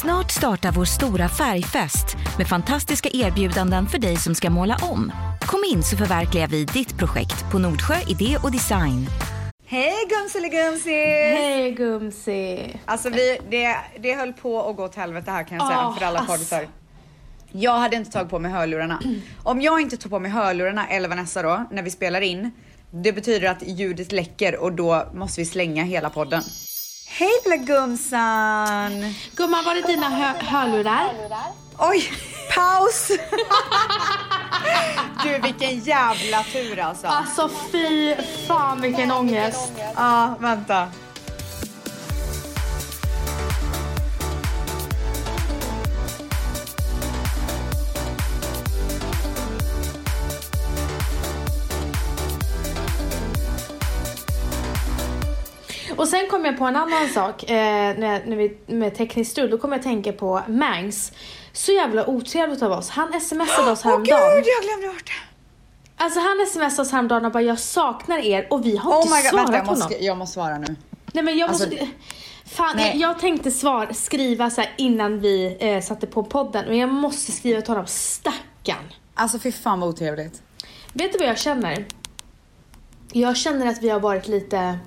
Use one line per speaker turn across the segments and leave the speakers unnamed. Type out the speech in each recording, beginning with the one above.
Snart startar vår stora färgfest med fantastiska erbjudanden för dig som ska måla om. Kom in så förverkligar vi ditt projekt på Nordsjö Idé och Design.
Hej gumsiligumsi!
Hej gumsi!
Alltså vi, det, det höll på att gå åt helvete här kan jag säga
Ah,
för alla
alltså.
poddisar. Jag hade inte tagit på mig hörlurarna. Om jag inte tog på mig hörlurarna, eller Vanessa då, när vi spelar in. Det betyder att ljudet läcker och då måste vi slänga hela podden. Hej lilla gumsan!
Gumman, var det dina hö- hörlurar?
Oj, paus! du vilken jävla tur alltså. Ja,
Alltså fy fan vilken ångest.
vänta.
Och sen kom jag på en annan sak eh, när, när vi, med tekniskt strul. Då kom jag att tänka på Mangs. Så jävla otrevligt av oss. Han smsade oss
Åh
häromdagen.
gud, jag glömde bort det.
Alltså han smsade oss häromdagen och bara jag saknar er och vi har
Oh
inte
my god,
svarat
vänta jag
honom.
måste, jag måste svara nu.
Nej men jag måste...
Alltså,
fan,
nej.
jag, jag tänkte svar, skriva så här innan vi eh, satte på podden. Men jag måste skriva till honom. Stackarn.
Alltså fy fan vad otrevligt.
Vet du vad jag känner? Jag känner att vi har varit lite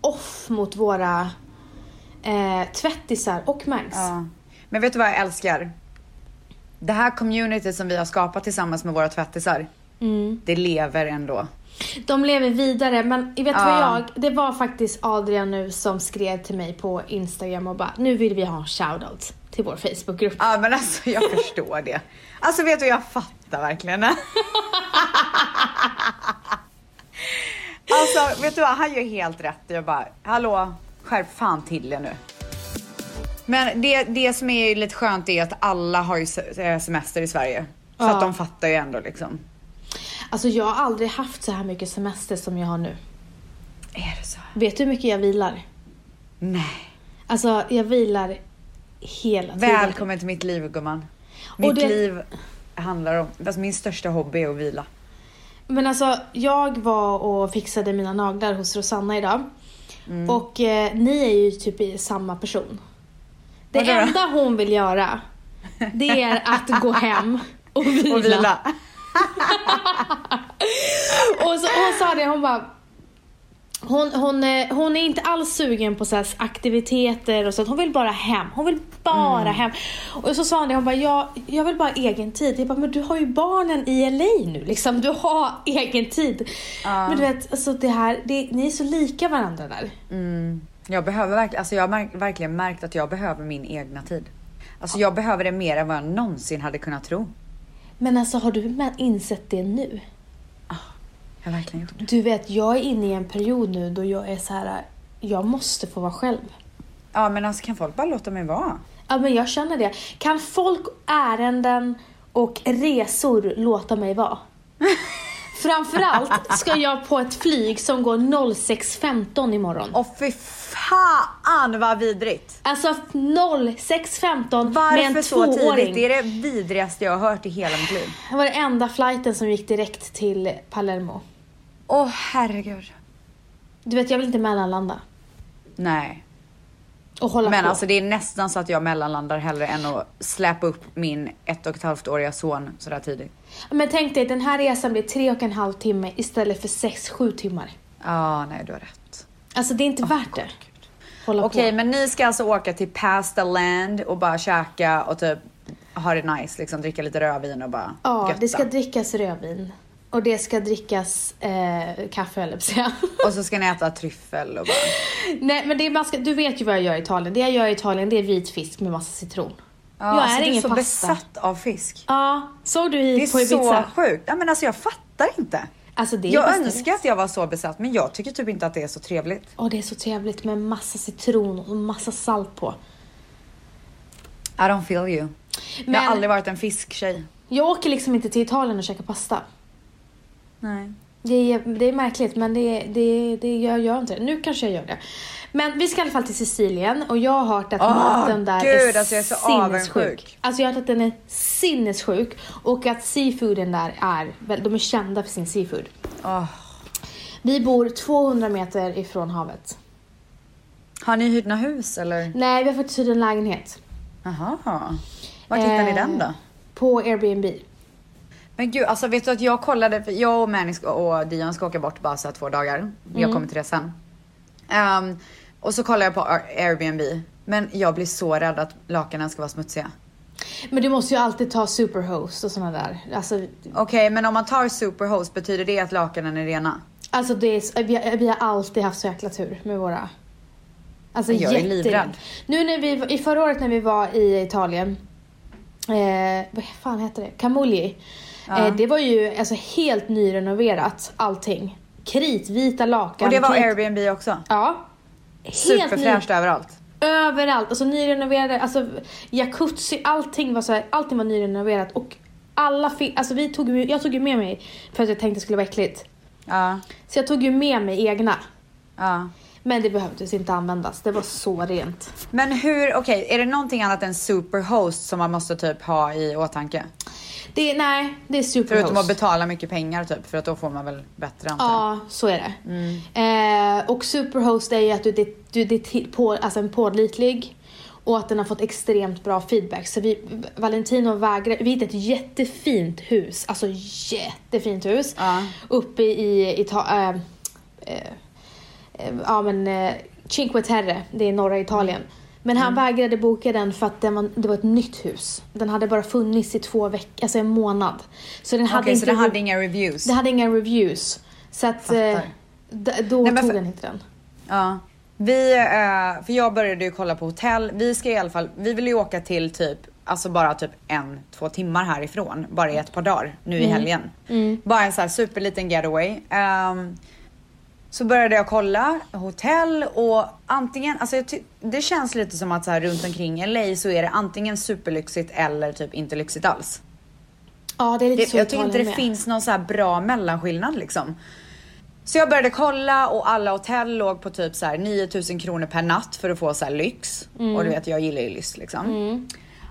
off mot våra eh, tvättisar och Mangs.
Ja. Men vet du vad jag älskar? Det här communityt som vi har skapat tillsammans med våra tvättisar, det lever ändå.
De lever vidare men vet du vad
Ja.
jag, det var faktiskt Adrian nu som skrev till mig på Instagram och bara nu vill vi ha en shoutout till vår Facebookgrupp.
Ja men alltså jag förstår det. Alltså vet du, jag fattar verkligen. alltså vet du vad, han gör helt rätt. Jag bara, hallå, skärp fan till er nu. Men det, det som är lite skönt är att alla har ju se- eh, semester i Sverige. Så
Ja.
att de fattar ju ändå liksom.
Alltså jag har aldrig haft så här mycket semester som jag har nu.
Är det så?
Vet du hur mycket jag vilar?
Nej.
Alltså jag vilar hela tiden.
Välkommen till mitt liv gumman.
Och
Mitt
det-
liv handlar om, alltså min största hobby är att vila.
Men alltså, jag var och fixade mina naglar hos Rosanna idag. Och eh, ni är ju typ i samma person. Det
Vadå då?
enda hon vill göra, det är att gå hem och vila.
Och vila.
Och så, hon sa det, hon bara... Hon, hon, eh, hon är inte alls sugen på så här aktiviteter och sånt. Hon vill bara hem. Hon vill bara hem. Och så sa hon det, hon bara, jag, jag vill bara ha egen tid. Jag bara, men du har ju barnen i LA nu liksom. Du har egen tid. Men du vet, alltså det här, det, ni är så lika varandra där.
Mm. Jag behöver verkligen, alltså jag har märk, verkligen märkt att jag behöver min egna tid. Alltså jag behöver det mer än vad jag någonsin hade kunnat tro.
Men alltså har du men- insett det nu?
Jag har verkligen gjort det.
Du vet, jag är inne i en period nu då jag är så här, jag måste få vara själv.
Ja men alltså kan folk bara låta mig vara?
Ja men jag känner det. Kan folk, ärenden och resor låta mig vara? Framförallt ska jag på ett flyg som går 06.15 imorgon.
Åh fy fan vad vidrigt!
Alltså 06.15 med
Varför
en
så tidigt? Det
tvååring.
är det vidrigaste jag har hört i hela mitt liv.
Det var den enda flighten som gick direkt till Palermo.
Åh herregud.
Du vet jag vill inte mellanlanda
Nej.
och hålla
Men
på.
alltså det är nästan så att jag mellanlandar hellre än att släpa upp min ett och ett halvt åriga son sådär tidigt.
Men tänk dig den här resan blir tre och en halv timme istället för 6-7 timmar.
Ja, nej du har rätt.
Alltså det är inte värt det. Hålla
Okej,
på.
men ni ska alltså åka till Pasta Land och bara käka och typ ha det nice, liksom dricka lite rödvin och bara
Ja,
götta.
det ska drickas rödvin. Och det ska drickas eh, kaffe höll jag på att säga.
Och så ska ni äta tryffel och bara,
Nej men det är, man ska, du vet ju vad jag gör i Italien. Det jag gör i Italien det är vit fisk med massa citron. jag
alltså,
är
du är
ingen
så
pasta.
besatt av fisk.
Ja, såg du
Det är
hit på
så
Ibiza?
sjukt. Ja, men alltså jag fattar inte.
Alltså det är
jag
bästa
önskar att jag var så besatt, men jag tycker typ inte att det är så trevligt.
Och det är så trevligt med massa citron och massa salt på.
I don't feel you. Jag
Men-
har aldrig varit en fisktjej.
Jag åker liksom inte till Italien och käkar pasta.
Nej.
Det är, det är märkligt men det, det, det jag gör inte det. Nu kanske jag gör det. Men vi ska i alla fall till Sicilien och jag har hört att
Åh,
maten där
gud,
är
alltså jag är så avundsjuk.
Alltså jag har hört att den är sinnessjuk och att seafooden där är, väl, de är kända för sin seafood.
Åh.
Vi bor 200 meter ifrån havet.
Har ni hyrt några hus eller?
Nej, vi har faktiskt hyrt en lägenhet.
Jaha. Var hittar ni
Eh,
den då?
På Airbnb.
Men gud, alltså vet du att jag kollade, för jag och Manny ska- och Dion ska åka bort bara så här två dagar. Jag kommer till det sen. Ehm, och så kollade jag på Air- Airbnb. Men jag blir så rädd att lakanen ska vara smutsiga.
Men du måste ju alltid ta superhost och sådana där. Alltså,
Okej, men om man tar superhost, betyder det att lakanen är rena?
alltså det är, så- vi, har, vi har alltid haft så jäkla tur med våra. Alltså
Jag är
jätte-
livrädd.
Nu när vi, var- i förra året när vi var i Italien. Eh, vad fan heter det? Camogli. Eh, det var ju alltså helt nyrenoverat allting. Kritvita lakan.
Och det var
krit-
Airbnb också?
Ja. Helt ny-
Superfräscht överallt.
Överallt, alltså nyrenoverade, alltså jacuzzi, allting var så här, allting var nyrenoverat och alla fi- alltså vi tog ju, jag tog ju med mig för att jag tänkte det skulle vara äckligt.
Ja,
Så jag tog ju med mig egna.
ja.
Men det behövdes inte användas, det var så rent.
Men hur, okej, är det någonting annat än superhost som man måste typ ha i åtanke?
Det, nej, det är superhost.
Förutom att betala mycket pengar typ, för att då får man väl bättre antar jag.
Ja, så är det.
Mm.
Eh, och superhost är ju att du, det, du, det till, på, alltså en pålitlig och att den har fått extremt bra feedback. Så vi, Valentino vägrar, vi hittade ett jättefint hus, alltså jättefint hus.
Ja.
Uppe i, Ita- eh, eh, eh, ja men eh, Cinque Terre, det är norra Italien. Men han
Mm.
vägrade boka den för att den var, det var ett nytt hus. Den hade bara funnits i två veckor, alltså en månad. Så den hade
Okej,
inte
så det
ro-
hade inga reviews?
det hade inga reviews. Så att eh,
Fattar.
d- då
Nej, men
tog
för-
den inte den.
Ja. Vi, eh, för jag började ju kolla på hotell. Vi ska i alla fall, vi vill ju åka till typ, alltså bara typ en, två timmar härifrån. Bara i ett par dagar nu
Mm.
i helgen. Bara en så här superliten getaway. Ehm, så började jag kolla hotell och antingen, alltså jag ty- det känns lite som att så här runt omkring LA så är det antingen superlyxigt eller typ inte lyxigt alls.
Ja, det är lite
Det,
så
jag tycker
Italien
inte det
med.
finns någon så här bra mellanskillnad liksom. Så jag började kolla och alla hotell låg på typ så här 9000 kronor per natt för att få så här lyx.
Mm.
Och du vet jag gillar ju lyx liksom.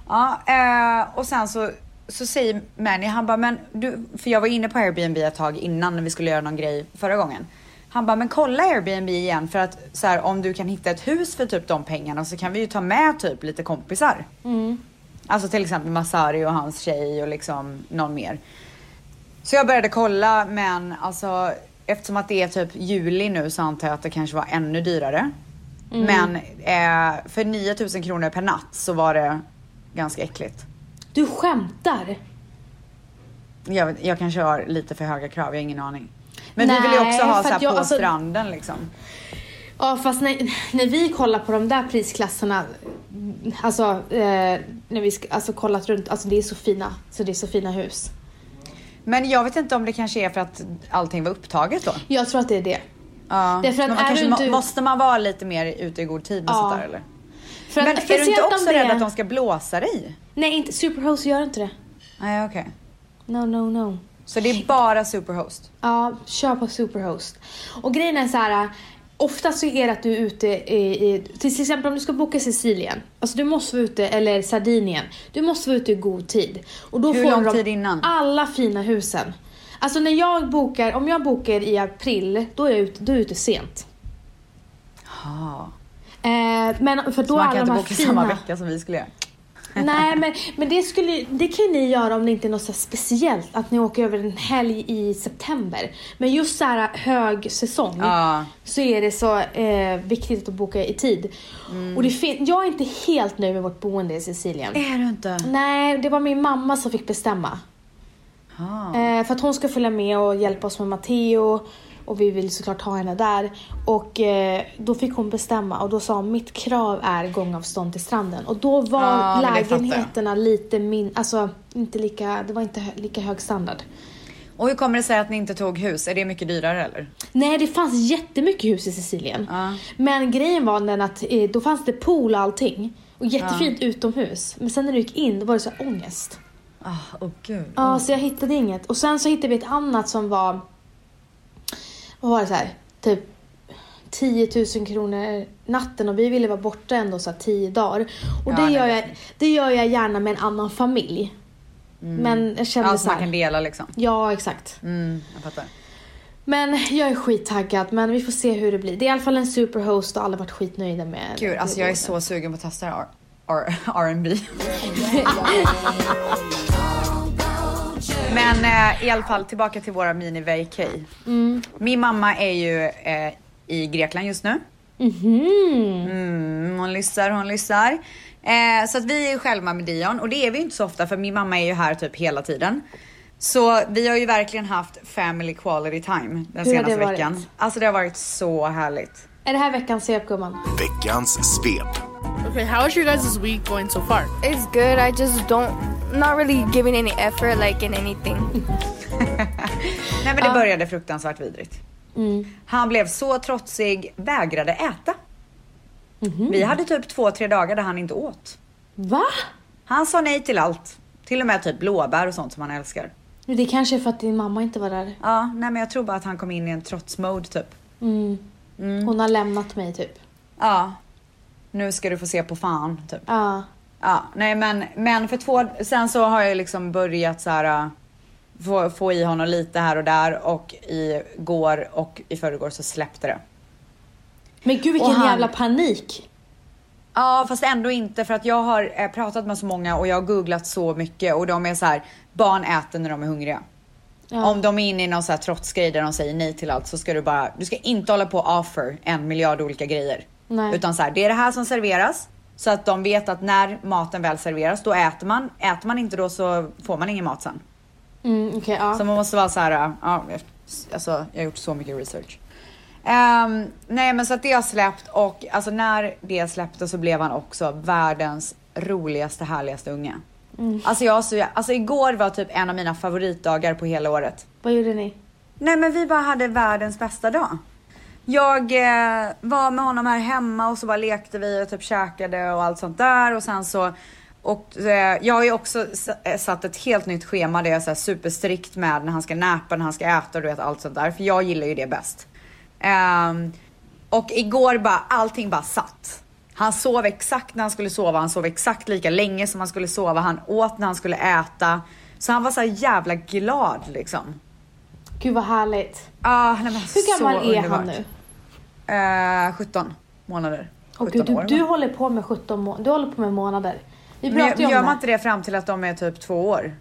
Ja, eh, och sen så, så säger Manny, han bara men du, för jag var inne på Airbnb ett tag innan när vi skulle göra någon grej förra gången. Han bara men kolla Airbnb igen för att så här, om du kan hitta ett hus för typ de pengarna så kan vi ju ta med typ lite kompisar.
Mm.
Alltså till exempel Masari och hans tjej och liksom någon mer. Så jag började kolla men alltså eftersom att det är typ juli nu så antar jag att det kanske var ännu dyrare.
Mm.
Men eh, för 9000 kronor per natt så var det ganska äckligt.
Du skämtar?
Jag, vet- jag kanske har lite för höga krav, jag har ingen aning. Men vi
Nej,
vill ju också
för
ha så här
att jag-
på
alltså-
stranden liksom.
Ja, fast när, när vi kollar på de där prisklasserna, alltså eh, när vi sk- alltså, kollat runt, alltså det är så fina, så det är så fina hus.
Men jag vet inte om det kanske är för att allting var upptaget då.
Jag tror att det är det.
Ja.
Därför att
men man
är
kanske
du
må-
inte-
Måste man vara lite mer ute i god tid med
Ja.
sånt där eller?
För
men är du inte
speciellt om
också rädd att de ska blåsa dig?
Nej, inte, Superhost gör inte det.
Nej okej.
No, no, no.
Så det är bara superhost?
Ja, kör på Superhost. Och grejen är så här. Ofta så är det att du är ute i, i till exempel om du ska boka Sicilien, alltså du måste vara ute, eller Sardinien, du måste vara ute i god tid. Och då
Hur
får
lång
de
tid innan?
alla fina husen. Alltså när jag bokar, om jag bokar i april, då är jag ute, då är jag ute sent.
Ah.
Eh, men för då
Så
är
man kan
alla de
inte
här
boka samma
fina... Mm.
vecka som vi skulle göra?
Nej men, men det, skulle, det kan ju ni göra om det inte är något så här speciellt att ni åker över en helg i september. Men just så här hög säsong
Ja.
så är det så eh, viktigt att boka i tid.
Mm.
Och det fin- jag är inte helt nöjd med vårt boende i Sicilien.
Är du inte?
Nej, det var min mamma som fick bestämma.
Ah.
Eh, för att hon ska följa med och hjälpa oss med Matteo och vi vill såklart ha henne där. Och eh, då fick hon bestämma och då sa hon mitt krav är gångavstånd till stranden. Och då var
Ja, men det fattar jag.
lägenheterna lite min, alltså inte lika, det var inte hö- lika hög standard.
Och hur kommer det sig att ni inte tog hus? Är det mycket dyrare eller?
Nej, det fanns jättemycket hus i Sicilien.
Ja.
Men grejen var den att eh, då fanns det pool och allting. Och jättefint utomhus. Men sen när du gick in då var det så här ångest.
Åh ah, oh, gud.
Ja, så jag hittade inget. Och sen så hittade vi ett annat som var... Vad var det så här? Typ 10 000 kronor natten och vi ville vara borta ändå så här 10 dagar. Och
Ja,
det,
nej,
gör
det är
jag, det gör jag gärna med en annan familj. Men jag kände
Ja, så
så
Mm. man
här.
kan dela liksom.
Ja, exakt.
Mm, jag fattar.
Men jag är skittaggad men vi får se hur det blir. Det är i alla fall en superhost och alla har varit skitnöjda med
Gud, alltså jag är
det.
så sugen på att testa det här. R- R&B. Men eh, i alla fall tillbaka till våra mini vk
Mm.
Min mamma är ju eh, i Grekland just nu.
Mm-hmm.
Mm, hon lyssnar, hon lyssnar. Eh, så att vi är ju själva med Dion och det är vi ju inte så ofta för min mamma är ju här typ hela tiden. Så vi har ju verkligen haft family quality time den
Hur har det
senaste
varit?
veckan. Alltså det har varit så härligt.
Är det här veckans svep gumman?
Veckans svep.
Okay, how is your guys' week going so far?
It's good. I just don't, not really giving any effort, like in anything.
Nej men det började fruktansvärt vidrigt. Han blev så trotsig, vägrade äta. Vi hade typ två, tre dagar där han inte åt.
Va?
Han sa nej till allt. Till och med typ blåbär och sånt som han älskar.
Men Det kanske är för att din mamma inte var där.
Ja, nej men jag tror bara att han kom in i en trotsmode typ. Mm.
Hon har lämnat mig typ.
Ja. Nu ska du få se på fan, typ. Ja,
Ja.
nej men, men för två, sen så har jag liksom börjat så här äh, få, få i honom lite här och där och igår och i förrgår så släppte det.
Men gud vilken
Och han-
jävla panik.
Ja, fast ändå inte för att jag har eh, pratat med så många och jag har googlat så mycket och de är så här, barn äter när de är hungriga. Om de är inne i någon så här trotsgrej där de säger nej till allt så ska du bara, du ska inte hålla på och offer en miljard olika grejer.
Nej.
Utan så här, det är det här som serveras. Så att de vet att när maten väl serveras, då äter man. Äter man inte då så får man ingen mat sen.
Mm, okej, ja.
Så man måste vara så här, äh, ja, alltså jag har gjort så mycket research. Ehm, nej men så att det har släppt och alltså när det släppte så blev han också världens roligaste, härligaste unge. Alltså jag har så, alltså igår var typ en av mina favoritdagar på hela året.
Vad gjorde ni?
Nej men vi bara hade världens bästa dag. Jag eh, var med honom här hemma och så bara lekte vi och typ käkade och allt sånt där och sen så och eh, jag har ju också s- eh, satt ett helt nytt schema där jag är så här superstrikt med när han ska näpa, när han ska äta och du vet allt sånt där. För jag gillar ju det bäst. Ehm, och igår bara, allting bara satt. Han sov exakt när han skulle sova, han sov exakt lika länge som han skulle sova, han åt när han skulle äta. Så han var så här jävla glad liksom.
Gud vad härligt.
Ah, nej, men alltså,
Hur gammal
så
är
underbart.
han nu?
Eh, 17 månader.
Åh
17
gud, du,
år.
du håller på med 17 må- du håller på med månader. Vi
men
pratade ju
jag,
om
gör
det.
man inte det fram till att de är typ två år?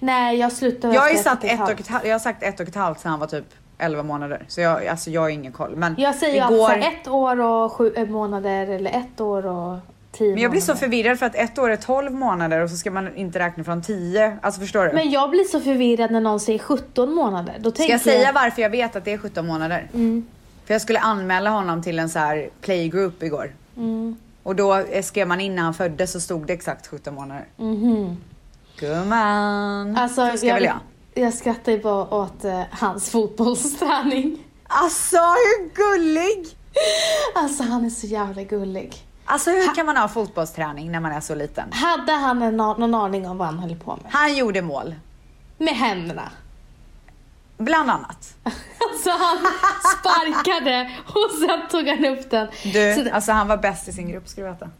Nej, jag slutade
Jag har ju
efter
satt ett och
halvt.
ett, halvt- jag har sagt ett och ett halvt sedan han var typ 11 månader. Så jag, alltså, jag har ingen koll. Men
Jag säger
igår,
alltså ett år och sju eh, månader eller ett år och tio
Men jag blir så
månader.
förvirrad för att ett år är 12 månader och så ska man inte räkna från 10. Alltså förstår du?
Men jag blir så förvirrad när någon säger 17 månader. Då
Ska
tänker
jag säga varför jag vet att det är 17 månader?
Mm.
För jag skulle anmäla honom till en så här playgroup igår.
Mm.
Och då eh, skrev man in när han föddes så stod det exakt 17 månader. Gumman.
Mhm. Alltså,
Fuskar
jag,
väl jag?
jag skrattar ju bara åt eh, hans fotbollsträning.
Alltså hur gullig!
Alltså han är så jävla gullig.
Alltså hur kan man ha fotbollsträning när man är så liten?
Hade han en, a- någon aning om vad han höll på med?
Han gjorde mål.
Med händerna.
Bland annat.
Alltså han sparkade och sen tog han upp den. Så
Du,
det-
alltså han var bäst i sin grupp ska du veta.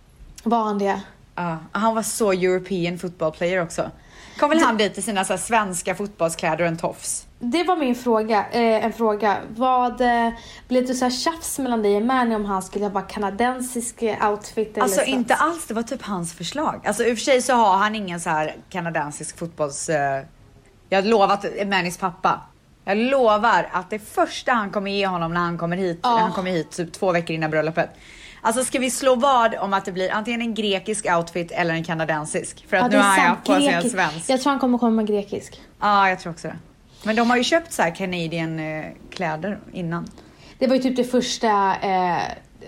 Var han det?
Ja, han var så European football player också. Kom väl han dit i sina så här, svenska fotbollskläder och en tofs?
Det var min fråga. Eh, en fråga. Vad eh, Blev det så här tjafs mellan dig och Mani om han skulle ha bara kanadensisk eh, outfit?
Alltså
eller så?
inte alls, det var typ hans förslag. Alltså i och för sig så har han ingen så här kanadensisk fotbolls... Eh, jag har lovat Mannys pappa. Jag lovar att det första han kommer ge honom när han kommer hit, när han
Ah.
kommer hit typ två veckor innan bröllopet. Alltså ska vi slå vad om att det blir antingen en grekisk outfit eller en kanadensisk? För att
Ja,
nu
det
har
är
jag
sant.
haft på sig en
Grekisk.
svensk. Ja,
Jag tror han kommer komma med grekisk.
jag tror också det. Men de har ju köpt så här Canadian eh, kläder innan.
Det var ju typ det första eh,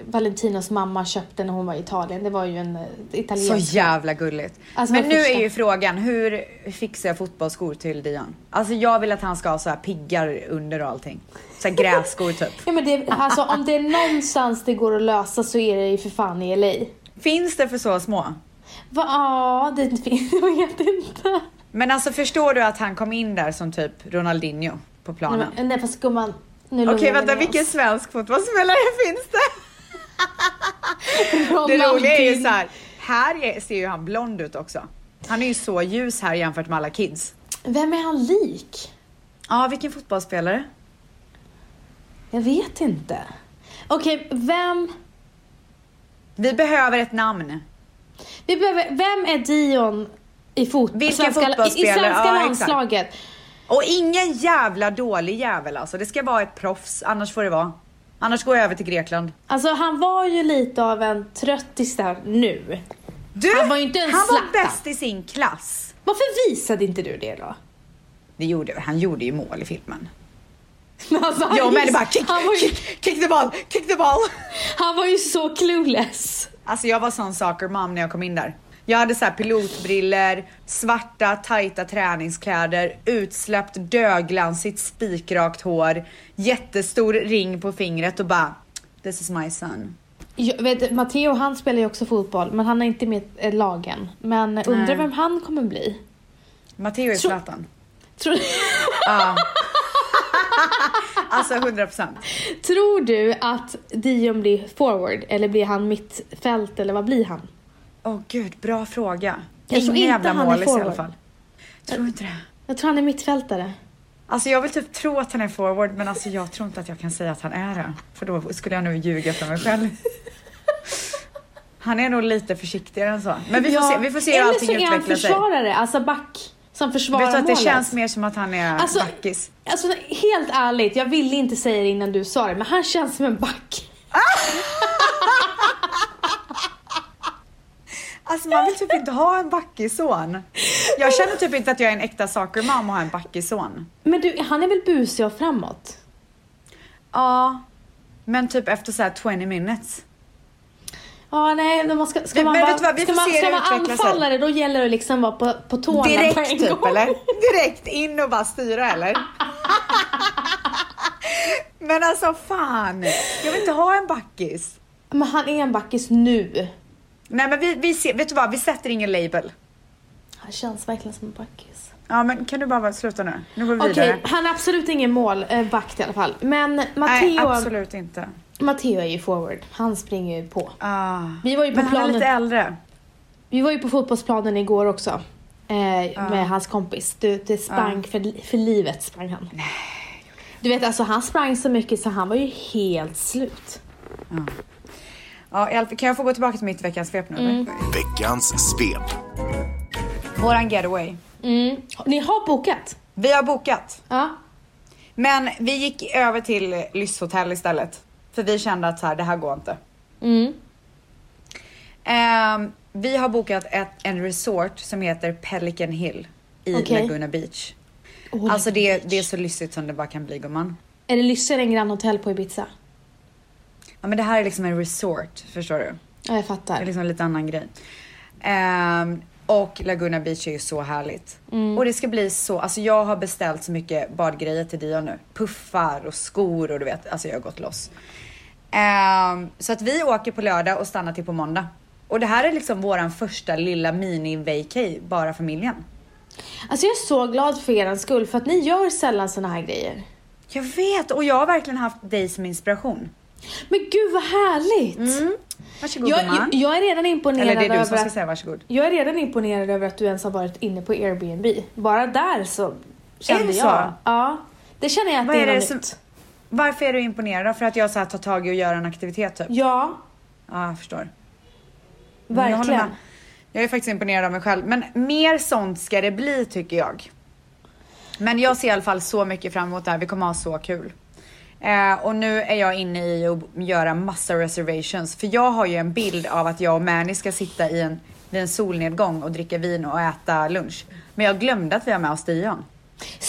Valentinos mamma köpte när hon var i Italien. Det var ju en eh,
Så
italiensk.
jävla gulligt.
Alltså,
men
vad
nu
första.
är ju frågan, hur fixar jag fotbollsskor till Dion? Alltså jag vill att han ska ha så här piggar under och allting. Så här grässkor typ.
Ja, men det, alltså, om det är någonstans det går att lösa så är det ju för fan i LA.
Finns det för så små?
Va? Ja, det finns jag vet inte.
Men alltså förstår du att han kom in där som typ Ronaldinho på planen?
Nej, men- nej fast gumman, nu lugnar
Okej
vi
vänta,
ner
vilken
oss.
svensk fotbollsspelare finns det? Det roliga är ju
Ronaldinho.
så här, här är- ser ju han blond ut också. Han är ju så ljus här jämfört med alla kids.
Vem är han lik?
Ja, vilken fotbollsspelare?
Jag vet inte. Okej, vem...
Vi behöver ett namn.
Vi behöver, vem är Dion i fot,
Vilken
svenska, i, i
fotbollsspelare?
svenska
Ja, exakt.
landslaget?
Och ingen jävla dålig jävel alltså. Det ska vara ett proffs, annars får det vara. Annars går jag över till Grekland.
Alltså han var ju lite av en tröttis där nu.
Du,
Han var ju inte en
han var
Zlatan.
bäst i sin klass.
Varför visade inte du det då?
Det gjorde, han gjorde ju mål i filmen.
Alltså, han
Ja men
vis-
det bara kick,
han, var ju,
kick, kick the ball, kick the ball.
han var ju så clueless.
Alltså jag var sån soccer mom när jag kom in där. Jag hade så här pilotbriller, svarta tajta träningskläder, utsläppt döglansigt spikrakt hår, jättestor ring på fingret och bara This is my son.
Jag vet, Matteo han spelar ju också fotboll men han är inte med i lagen. Men undrar vem han kommer bli?
Matteo är
Så-
Zlatan.
Tror,
Ja. alltså 100%.
tror du att Dion blir forward eller blir han mittfält eller vad blir han?
Åh gud, bra fråga.
Jag tror
Ingen
inte
jävla
han är
målis i alla
forward.
fall. Tror inte det.
Jag tror han är mittfältare.
Alltså jag vill typ tro att han är forward men alltså jag tror inte att jag kan säga att han är det. För då skulle jag nu ljuga för mig själv. Han är nog lite försiktigare än så. Men vi får
Ja,
se, vi får se hur allting
Eller så är han
utvecklar sig.
försvarare, alltså back. Som försvarar
Vet du att det
målet.
känns mer som att han är
Alltså-
backis?
Alltså helt ärligt, jag ville inte säga det innan du sa det men han känns som en back.
Alltså man vill typ inte ha en backisson. Jag känner typ inte att jag är en äkta sakermamma och har en backisson.
Men du, han är väl busig och framåt?
Ja, men typ efter så här 20 minutes.
Ja, nej, men man ska, ska
Men-
man
men
bara,
vet du vad, vi
ska
får
man,
se
ska
hur det
man
utvecklar sig.
anfallare då gäller det liksom vara på, på tårna på en
Direkt typ
gång.
eller? Direkt in och bara styra eller? Men alltså fan, jag vill inte ha en backis.
Men han är en backis nu.
Nej men vi, vi ser, vet du vad, vi sätter ingen label.
Han känns verkligen som en backis.
Ja men kan du bara vara- sluta nu? Nu går vi
Okej,
vidare.
han är absolut ingen mål, eh, back i alla fall. Men
Nej
Matteo,
absolut inte.
Matteo är ju forward. Han springer ju på.
Ah.
Vi var ju på
men han är
planen.
lite äldre.
Vi var ju på fotbollsplanen igår också. Eh, Med hans kompis. Du, det sprang för, för livet sprang han. Du vet alltså han sprang så mycket så han var ju helt slut.
Ja, i alla fall- kan jag få gå tillbaka till mitt veckans svep nu?
Mm.
eller?
Veckans svep.
Våran getaway.
Mm. Ni har bokat?
Vi har bokat.
Ja.
Men vi gick över till lyxhotell istället. För vi kände att så här, det här går inte.
Mm.
Ehm, vi har bokat ett, en resort som heter Pelican Hill i
Okej.
Laguna Beach.
Åh,
alltså
Laguna
det, det är så lyxigt som det bara kan bli gumman.
Är det lyxigare än Grand Hotel på Ibiza?
Ja men det här är liksom en resort, förstår du?
Ja, jag
Det är
fattar.
liksom en lite annan grej. Ehm, och Laguna Beach är ju så härligt.
Mm.
Och det ska bli så, alltså jag har beställt så mycket badgrejer till Dion nu. Puffar och skor och du vet, alltså jag har gått loss. Ehm, så att vi åker på lördag och stannar till på måndag. Och det här är liksom våran första lilla mini-vacay, bara familjen.
Alltså jag är så glad för er skull för att ni gör sällan såna här grejer.
Jag vet och jag har verkligen haft dig som inspiration.
Men gud vad härligt!
Varsågod
Jag,
gumman.
jag, jag är redan imponerad
Mm. Eller det är du som
över
ska
att
säga varsågod.
Jag är redan imponerad över att du ens har varit inne på Airbnb. Bara där så kände
Är det så?
jag. Ja. Det känner jag att
Vad
det är,
är det
något
som-
nytt.
Varför är du imponerad? då? För att jag så här tar tag i och gör en aktivitet typ? Ja,
Ja,
jag förstår. Men jag håller
verkligen.
med. Jag är faktiskt imponerad av mig själv. Men mer sånt ska det bli tycker jag. Men jag ser i alla fall så mycket fram emot det här. Vi kommer ha så kul. Eh, och nu är jag inne i att göra massa reservations. För jag har ju en bild av att jag och Mani ska sitta i en, vid en solnedgång och dricka vin och äta lunch. Men jag glömde att vi har med oss Dion. Kommer gå åt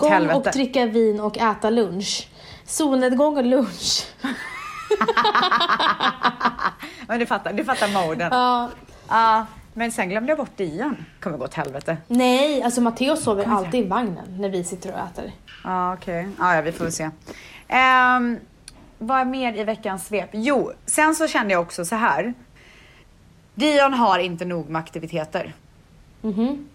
Solnedgång
helvete.
och dricka vin och äta lunch. Solnedgång och lunch.
Men du fattar, du fattar moden. Ja.
Ja.
men sen glömde jag bort Dion. Kommer gå åt helvete.
nej, alltså Matteo sover alltid i vagnen när vi sitter och äter.
Ja okej, Ja, ja vi får väl se. Ehm, vad mer i veckans svep? Jo, sen så kände jag också så här. Dion har inte nog med aktiviteter.
Mhm.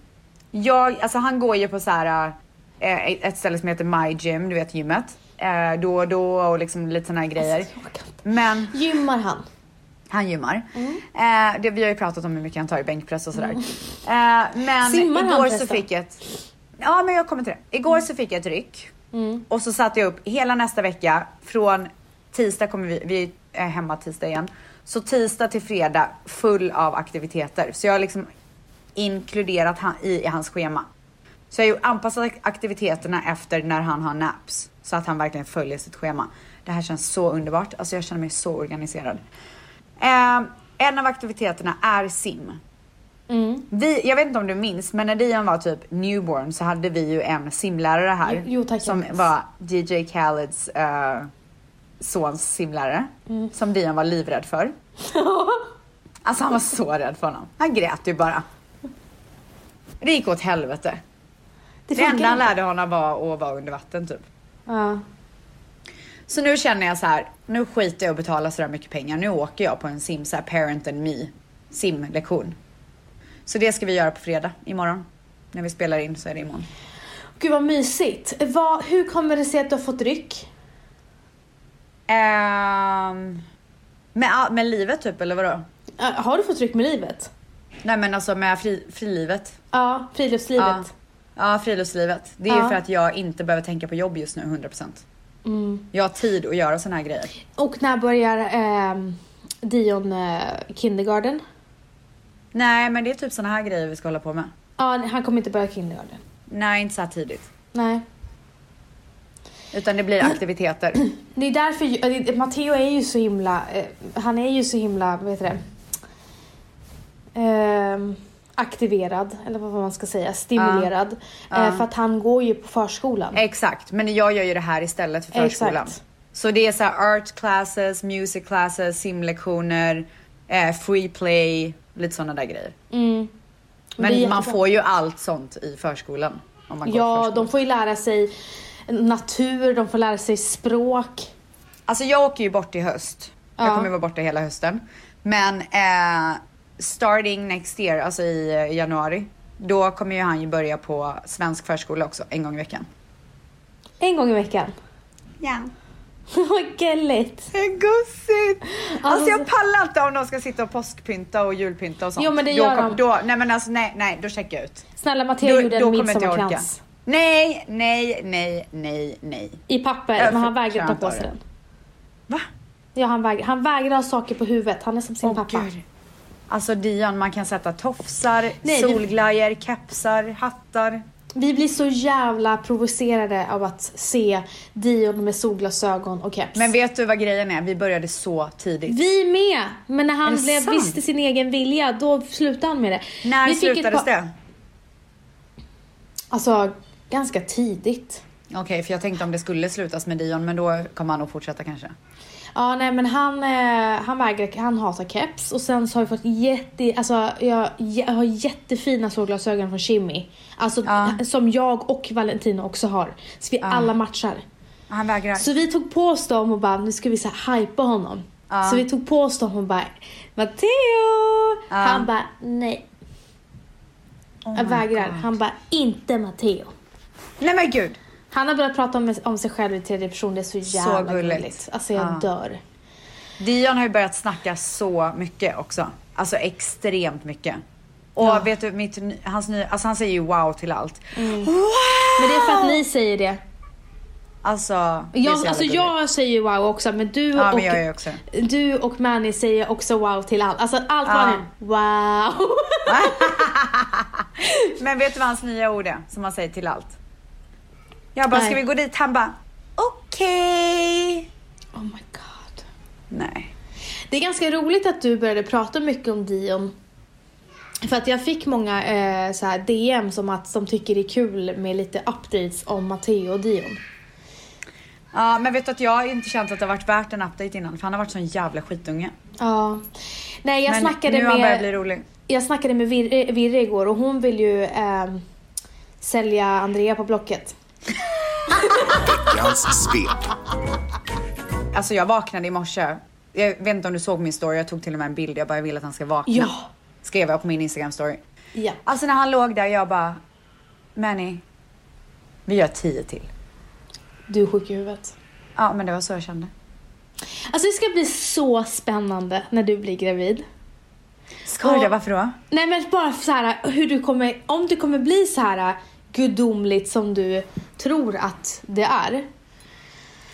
Jag, alltså han går ju på så här, eh, ett ställe som heter My Gym, du vet gymmet. Eh, då och då och liksom lite såna här grejer.
Alltså, jag orkar inte. Mm.
Men
Gymmar han?
han gymmar. Eh, det, vi har ju pratat om hur mycket han tar i bänkpress och sådär. Eh, men
Mm. Simmar han
igår så
förresten?
fick jag ett... Ja, men jag kommer till det. Igår så fick jag ett ryck. Och så satte jag upp hela nästa vecka från tisdag kommer vi, vi är hemma tisdag igen. Så tisdag till fredag full av aktiviteter. Så jag har liksom inkluderat han, i, i hans schema. Så jag har ju anpassat ak- aktiviteterna efter när han har naps. Så att han verkligen följer sitt schema. Det här känns så underbart. Alltså jag känner mig så organiserad. Eh, en av aktiviteterna är sim. Vi, jag vet inte om du minns, men när Dion var typ newborn så hade vi ju en simlärare här.
Jo- jo, tack, jag
som
minns.
var DJ Khaleds eh, sons simlärare.
Mm.
Som Dion var livrädd för. Alltså han var så rädd för honom. Han grät ju bara. Det gick åt helvete. Det,
funkar
enda han
inte.
lärde honom var att vara under vatten typ.
Ja.
Så nu känner jag så här, nu skiter jag i att betala så där mycket pengar. Nu åker jag på en sim, så här parent and me simlektion. Så det ska vi göra på fredag, imorgon. När vi spelar in så är det imorgon.
Gud vad mysigt. Vad, hur kommer det sig att du har fått ryck?
Ehm, med, ja, med livet typ eller vadå?
Ja, har du fått ryck med livet?
Nej men alltså med fri, frilivet.
Ja,
Ja.
friluftslivet.
ja, friluftslivet. Det är ju
Ja.
för att jag inte behöver tänka på jobb just nu 100%.
Mm.
Jag har tid att göra såna här grejer.
Och när börjar ehm, Dion eh, kindergarten?
Nej men det är typ såna här grejer vi ska hålla på med.
Ja, han kommer inte börja kindergarten.
Nej inte så här tidigt.
Nej.
Utan det blir aktiviteter.
Det är därför, ju- eh, det- Matteo är ju så himla, eh, han är ju så himla, vad heter det? Ehm, aktiverad, eller vad man ska säga, stimulerad.
Ja.
Eh, för att han går ju på förskolan.
Exakt, men jag gör ju det här istället för förskolan.
Exakt.
Så det är så här art classes, music classes, simlektioner, eh, free play, lite sådana där grejer.
Mm.
Men
Det är
man
jättebra.
får ju allt sånt i förskolan. Om man går i
Ja,
förskolan.
de får ju lära sig natur, de får lära sig språk.
Alltså jag åker ju bort i höst.
Ja.
Jag kommer vara borta hela hösten. Men eh, starting next year, alltså i eh, januari, då kommer ju han ju börja på svensk förskola också en gång i veckan.
En gång i veckan.
Ja.
Vad gulligt!
Gosigt! Alltså,
Alltså,
jag pallar inte om de ska sitta och påskpynta och julpynta och sånt.
Jo, men det
då
gör
kom-
de.
Då, nej men alltså nej, nej, då checkar jag ut.
Snälla Matteo
Då,
gjorde
då
en
kommer inte jag orka.
midsommarkrans.
Nej, nej, nej, nej, nej.
I papper,
Jag
men han
för-
vägrade
klarar
ta på
inte
sig
av
den.
Va?
Ja, han, väg, han vägrar ha saker på huvudet. Han är som sin
Åh
pappa.
gud. Alltså Dion, man kan sätta tofsar,
det-
solglajjor, kepsar, hattar.
Vi blir så jävla provocerade av att se Dion med solglasögon och keps.
Men vet du vad grejen är? Vi började så tidigt.
vi med! Men när
Är
han
det
blev,
sant?
visste sin egen vilja, då slutade han med det.
När
vi fick ett
slutades
par-
det?
Alltså, ganska tidigt.
Okej, för jag tänkte om det skulle slutas med Dion, men då kommer han nog fortsätta kanske.
Ja, nej men han, eh, han vägrar, han hatar keps och sen så har vi fått jätte, alltså jag, jag har jättefina solglasögon från Kimi. Alltså
Ja.
som jag och Valentino också har. Så vi alla matchar.
Han vägrar.
Så vi tog på oss dem och bara, nu ska vi så här hypa honom.
Ja.
Så vi tog på oss dem och bara, Matteo! Han bara, nej.
Oh
jag
my
vägrar.
God.
Han bara, inte Matteo.
Nej men gud!
Han har börjat prata om, om sig själv i tredje person, det är så jävla
gulligt.
gulligt. Alltså jag
Ja.
dör.
Dion har ju börjat snacka så mycket också. Alltså extremt mycket. Och
Ja.
vet du, mitt, ny- hans nya, alltså han säger ju wow till allt.
Mm. Men det är för att ni säger det.
Alltså, det är så
Jag,
jävla
alltså
gulligt.
jag säger ju wow också men du
Ja,
och,
men jag gör ju också.
du och Manny säger också wow till allt. Alltså allt var en wow.
Men vet du vad hans nya ord är? Som han säger till allt. Jag bara,
Nej.
ska vi gå dit? Han bara, okej.
oh my god.
Nej.
Det är ganska roligt att du började prata mycket om Dion. För att jag fick många eh, så här DM som att de tycker det är kul med lite updates om Matteo och Dion.
Ja, men vet du att jag har inte känt att det har varit värt en update innan för han har varit sån jävla skitunge.
Ja. Nej jag
men
snackade
nu har han börjat bli
med,
rolig.
jag snackade med Virre, Virre igår och hon vill ju ehm, sälja Andrea på Blocket.
Veckans svep.
Alltså jag vaknade i morse. Jag vet inte om du såg min story, jag tog till och med en bild. Jag bara, jag vill att han ska vakna.
Ja.
Skrev jag på min Instagram story.
Ja.
Alltså när han låg där, jag bara, Manny, vi gör tio till.
Du är sjuk i huvudet.
Ja, men det var så jag kände.
Alltså det ska bli så spännande när du blir gravid.
Ska du det?
Och-
Varför då?
Nej men bara så här hur du kommer, om du kommer bli så här gudomligt som du tror att det är.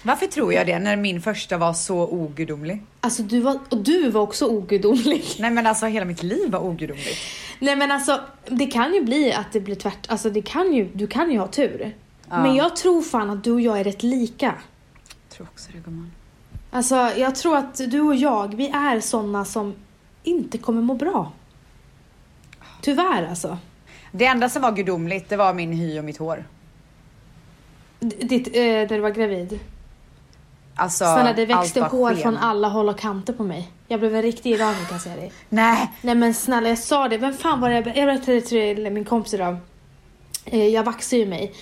Varför tror jag det när min första var så ogudomlig?
Alltså du var, och du var också ogudomlig.
Nej men alltså hela mitt liv var ogudomligt.
Nej men alltså, det kan ju bli att det blir tvärt... Alltså det kan ju, du kan ju ha tur.
Ja.
Men jag tror fan att du och jag är rätt lika.
Jag tror också det gumman.
Alltså jag tror att du och jag, vi är sådana som inte kommer må bra. Tyvärr alltså.
Det enda som var gudomligt det var min hy och mitt hår.
D- Ditt, eh, när du var gravid.
Alltså
Snälla det växte
allt bara
hår
sken.
från alla håll och kanter på mig. Jag blev en riktig iranier kan jag säga dig.
Nej!
Nej men snälla jag sa det, vem fan var det jag ber- jag berättade till min kompis idag. Eh, Jag vaxar ju mig.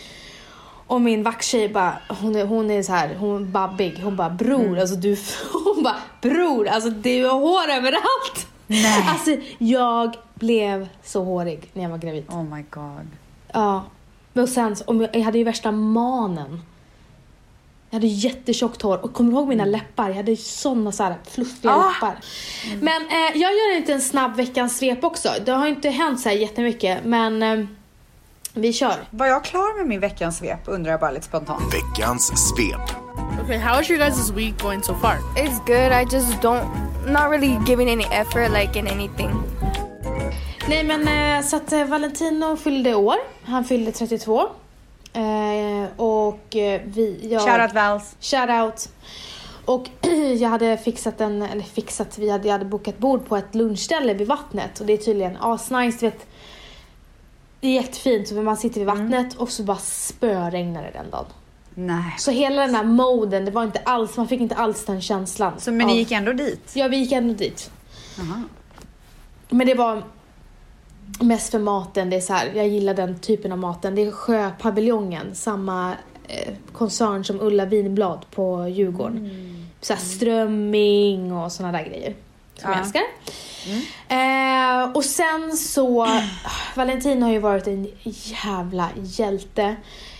Och min vaxtjej bara, hon är, hon är så här, hon är babbig. Hon bara bror, alltså du, hon bara bror, alltså du har hår överallt.
Nej.
Alltså jag blev så hårig när jag var gravid.
Oh my god.
Ja. Men och sen, så- om jag, jag hade ju värsta manen. Jag hade jättetjockt hår och kommer du ihåg mina läppar? Jag hade ju såna så här fluffiga
Ah.
läppar. Men eh, jag gör inte en snabb veckans svep också. Det har inte hänt så här jättemycket men eh, vi kör.
Var jag klar med min veckans svep undrar jag bara lite spontant.
Veckans svep.
Okay, how is your guys' week going so far?
It's good. I just don't, not really giving any effort like in anything.
Nej men eh, så att eh, Valentino fyllde år. Han fyllde 32. Eh, och eh, vi... Jag...
Shoutout Vals.
Shoutout. Och jag hade fixat en, eller fixat, vi hade, jag hade bokat bord på ett lunchställe vid vattnet och det är tydligen asnice, du vet. Det är jättefint, så man sitter vid
Mm.
vattnet och så bara spöregnade den dagen.
Nej.
Så hela den här moden, det var inte alls, man fick inte alls den känslan.
Så, men ni
av-
gick ändå dit?
Ja, vi gick ändå dit.
Jaha.
Men det var mest för maten. Det är så här, jag gillar den typen av maten. Det är Sjöpaviljongen, samma eh, koncern som Ulla Vinblad på Djurgården.
Mm.
Så här, strömming och såna där grejer. Som
Ja. Mm.
jag älskar. Eh, och sen så, Valentin har ju varit en jävla hjälte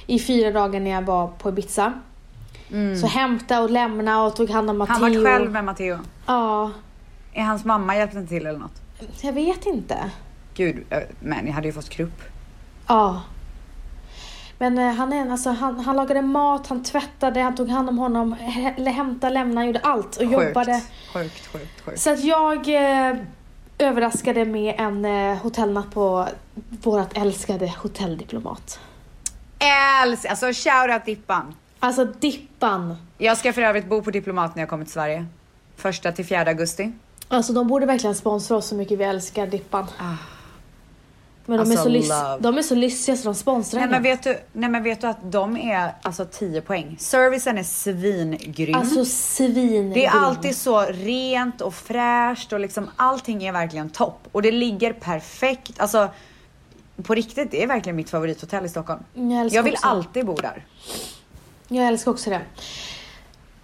i fyra dagar när jag var på Ibiza. Så hämta och lämna och tog hand om Matteo.
Mm. Han var själv med Matteo.
Ja,
Är hans mamma hjälpte inte till eller något?
jag vet inte.
Gud, eh, men jag hade ju fått krupp.
Ja. Men eh, han, är, en- alltså, han, han lagade mat, han tvättade, han tog hand om honom, hä- hämtade, lämnade, gjorde allt och jobbade.
Sjukt, sjukt, sjukt.
Så att jag eh, överraskade med en eh, hotellnatt på vårt älskade hotelldiplomat.
Älskar, alltså shoutout Dippan.
Alltså Dippan.
Jag ska för övrigt bo på Diplomat när jag kommer till Sverige. Första till fjärde augusti.
Alltså de borde verkligen sponsra oss så mycket vi älskar Dippan. Men de, är
Ah. Alltså,
så
love.
lys- de är så lyssiga så de sponsrar
Nej
henne.
men, vet du, nej men vet du att de är alltså 10 poäng. Servicen är svingrym.
Alltså svin.
det är alltid så rent och fräscht och liksom allting är verkligen topp. Och det ligger perfekt. Alltså på riktigt, det är verkligen mitt favorithotell i Stockholm.
Jag älskar
Jag vill
också.
alltid bo där.
Jag älskar också det.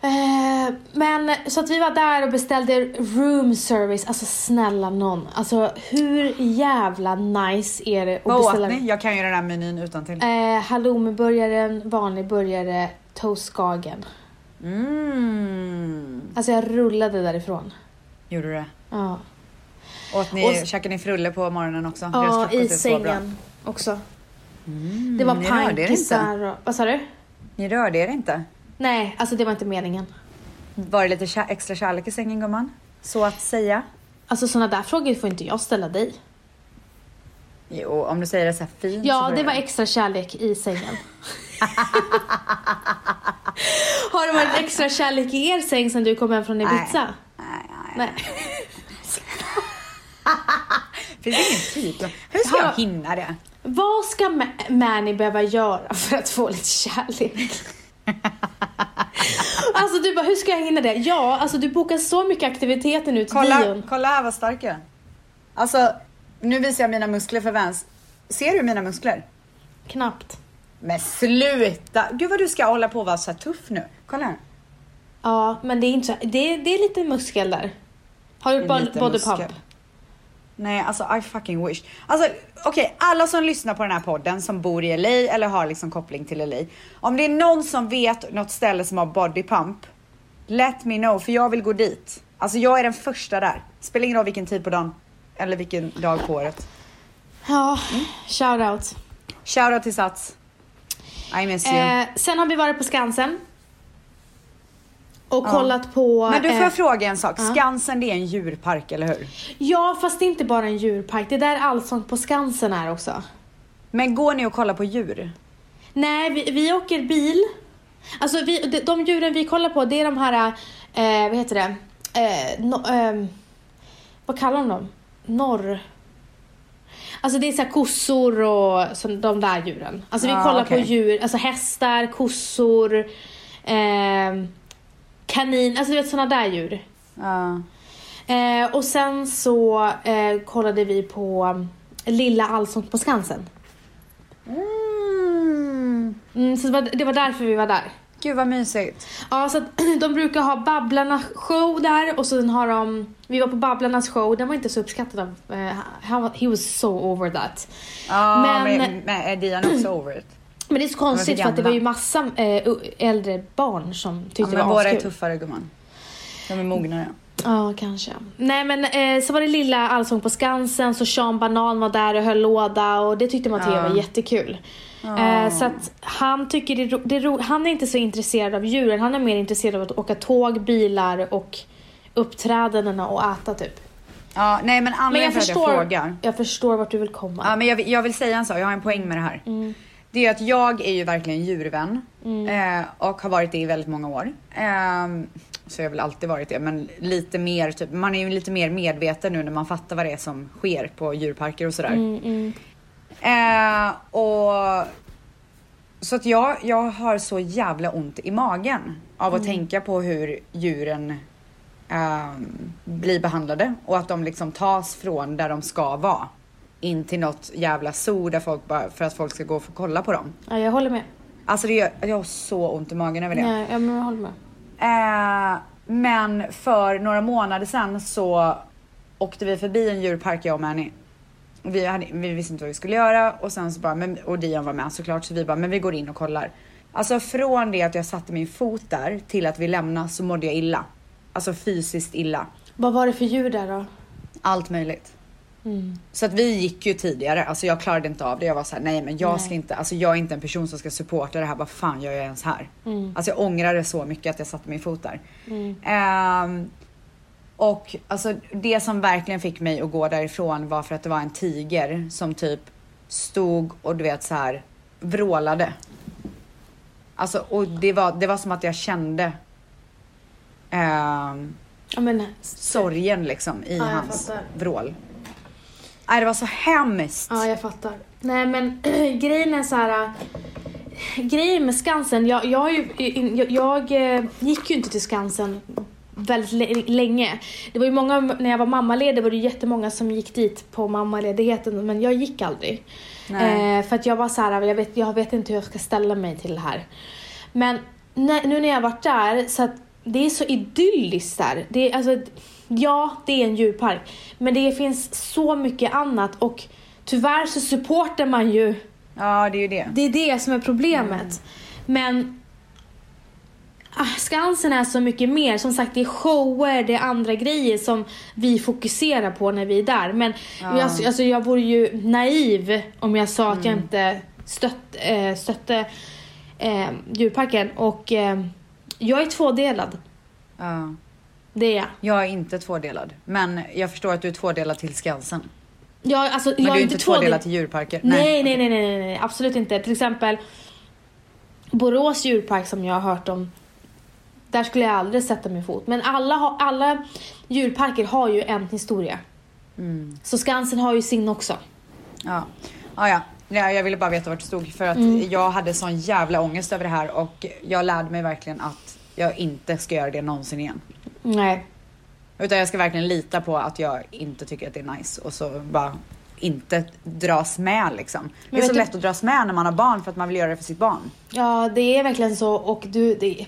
Eh, men så att vi var där och beställde room service. Alltså snälla någon. Alltså hur jävla nice är det att
Vad åt
beställa?
ni? Jag kan ju den här menyn utan till.
Eh, halloumiburgaren, vanlig burgare, toastskagen.
Mm.
Alltså jag rullade därifrån.
Gjorde du det?
Ja,
Åt ni,
Och s-
käkade ni frulle på morgonen också? Deras
ja
frukost är
i
så bra. Mm,
sängen också. det var
ni rörde er inte.
pankisar och... Vad sa du?
Ni rörde er inte?
Nej, alltså det var inte meningen.
Var det lite kä- extra kärlek i sängen gumman? Så att säga.
Alltså sådana där frågor får inte jag ställa dig.
Jo, om du säger det så här fint så
Ja,
får
det
du
var extra kärlek i sängen. Har det varit extra kärlek i er säng sen du kom hem från Ibiza?
Nej, nej.
Nej.
Finns det ingen tid? Hur ska
Hallå.
jag hinna det?
Vad ska Ma- Manny behöva göra för att få lite kärlek? Alltså du bara, hur ska jag hinna det? Ja, alltså du bokar så mycket aktiviteter nu till
Kolla,
bion.
kolla här vad stark jag är. Alltså, nu visar jag mina muskler för Vans. Ser du mina muskler?
Knappt.
Men sluta! Gud vad du ska hålla på och vara så här tuff nu. Kolla här.
Ja, men det är inte så, det, det är lite muskel där. Har du
Det är
gjort bod-
lite
body
muskel.
pump?
Nej, alltså I fucking wish. Alltså okej, alla som lyssnar på den här podden som bor i LA eller har liksom koppling till LA. Om det är någon som vet något ställe som har body pump, let me know för jag vill gå dit. Alltså jag är den första där. Spelar ingen roll vilken tid på dagen eller vilken dag på året.
Ja,
Mm.
shout out.
Shoutout till Sats. I miss you.
Eh, sen har vi varit på Skansen. och kollat på...
Men du får
eh,
jag fråga en sak. Skansen det är en djurpark eller hur?
Ja, fast det är inte bara en djurpark. Det är där Allsång på Skansen är också.
Men går ni och kollar på djur?
Nej, vi, vi åker bil. Alltså vi, de, de djuren vi kollar på det är de här, eh, vad heter det, eh, no, ehm, vad kallar de dem? Norr... Alltså det är så här kossor och så, de där djuren. Alltså vi
Ah,
kollar
okej.
på djur, alltså hästar, kossor, ehm, kanin, alltså du vet sådana där djur.
Ja.
Eh, och sen så eh, kollade vi på mm, Lilla Allsång på Skansen. Mm, så det var, det var därför vi var där.
Gud vad mysigt.
Ja, så att, de brukar ha Babblarna show där och sen har de, vi var på Babblarnas show, den var inte så uppskattad av, eh, han var- he was so over that.
Ja, men,
Men-
men, är Dian också over it?
Men det är så konstigt
så
för att det var ju
gamla.
massa eh, u- äldre barn som
Ja,
tyckte
men
det var
våra är
askul.
tuffare gumman. De är mognare.
Ja, kanske. Nej men eh, så var det lilla Allsång på Skansen, så Sean Banan var där och höll låda och det tyckte Matteo var jättekul. Eh, så att han tycker det, är ro- det är ro, han är inte så intresserad av djuren, han är mer intresserad av att åka tåg, bilar och uppträdandena och äta typ.
Ja, nej men
Men
anledningen
jag
till att jag
förstår,
frågar.
jag förstår vart du vill komma.
Ja, men jag, vill- jag vill säga en sak, jag har en poäng med det här.
Mm.
Det är att jag är ju verkligen djurvän
Mm.
eh, och har varit det i väldigt många år. Ehm, så jag har väl alltid varit det, men lite mer, typ, man är ju lite mer medveten nu när man fattar vad det är som sker på djurparker och sådär.
Mm,
Eh, och så att jag, jag har så jävla ont i magen av att tänka på hur djuren ehm, blir behandlade och att de liksom tas från där de ska vara in till något jävla zoo där folk bara, för att folk ska gå och få kolla på dem.
Ja, jag håller med.
Alltså det gör, jag har så ont i magen över det.
Nej, ja, men jag håller med.
Eh, men för några månader sedan så åkte vi förbi en djurpark jag och Manny. Vi, hade, vi visste inte vad vi skulle göra och sen så bara, men, och Dion var med såklart så vi bara, men vi går in och kollar. Alltså från det att jag satte min fot där till att vi lämnade så mådde jag illa. Alltså fysiskt illa.
Vad var det för djur där då? Mm,
Allt möjligt. Så att vi gick ju tidigare, alltså jag klarade inte av det. Jag var såhär, nej men jag ska inte, alltså jag är inte en person som ska supporta det här. Vad fan gör jag ens här?
mm,
Alltså jag ångrade så mycket att jag satte min fot där. Ehm, och alltså det som verkligen fick mig att gå därifrån var för att det var en tiger som typ stod och du vet så här vrålade. Alltså och det var, det var som att jag kände ehm,
Ja, men,
sorgen liksom i
jag
hans
fattar.
vrål. Nej det var så hemskt.
Ja, jag fattar. Nej, men grejen är så här. äh, Grejen med Skansen, jag, jag, har ju, jag, jag eh, gick ju inte till Skansen väldigt lä- länge. Det var ju många, när jag var mammaledig var det ju jättemånga som gick dit på mammaledigheten men jag gick aldrig.
Nej.
Eh, för att jag var så här, jag vet, jag vet inte hur jag ska ställa mig till det här. Men när, nu när jag varit där, så att det är så idylliskt där. Det är, alltså, ja, det är en djurpark, men det finns så mycket annat och tyvärr så supportar man ju
Ja, det är ju det.
det är det som är
Mm.
problemet. Men ah, Skansen är så mycket mer. Som sagt, det är shower, det är andra grejer som vi fokuserar på när vi är där. Men jag, alltså, jag vore ju naiv om jag sa att jag
Mm.
inte stött, eh, stötte eh, djurparken. Och eh, jag är tvådelad.
Ja.
Det är jag.
Jag är inte tvådelad. Men jag förstår att du är tvådelad till Skansen.
jag alltså,
Men
jag
du är inte
tvådelad.
tvådelad till djurparker.
Typ. Nej, nej, nej, nej, nej, nej, absolut inte. Till exempel Borås djurpark som jag har hört om. Där skulle jag aldrig sätta min fot. Men alla, har- alla djurparker har ju en historia. Så Skansen har ju sin också.
Ja. Ja, ja. Nej, jag ville bara veta vart det stod för att
Mm.
jag hade sån jävla ångest över det här och jag lärde mig verkligen att jag inte ska göra det någonsin igen.
Nej.
Utan jag ska verkligen lita på att jag inte tycker att det är nice och så bara inte dras med liksom. det är
vet
så
du-
lätt att dras med när man har barn för att man vill göra det för sitt barn.
Ja, det är verkligen så. Och du, det,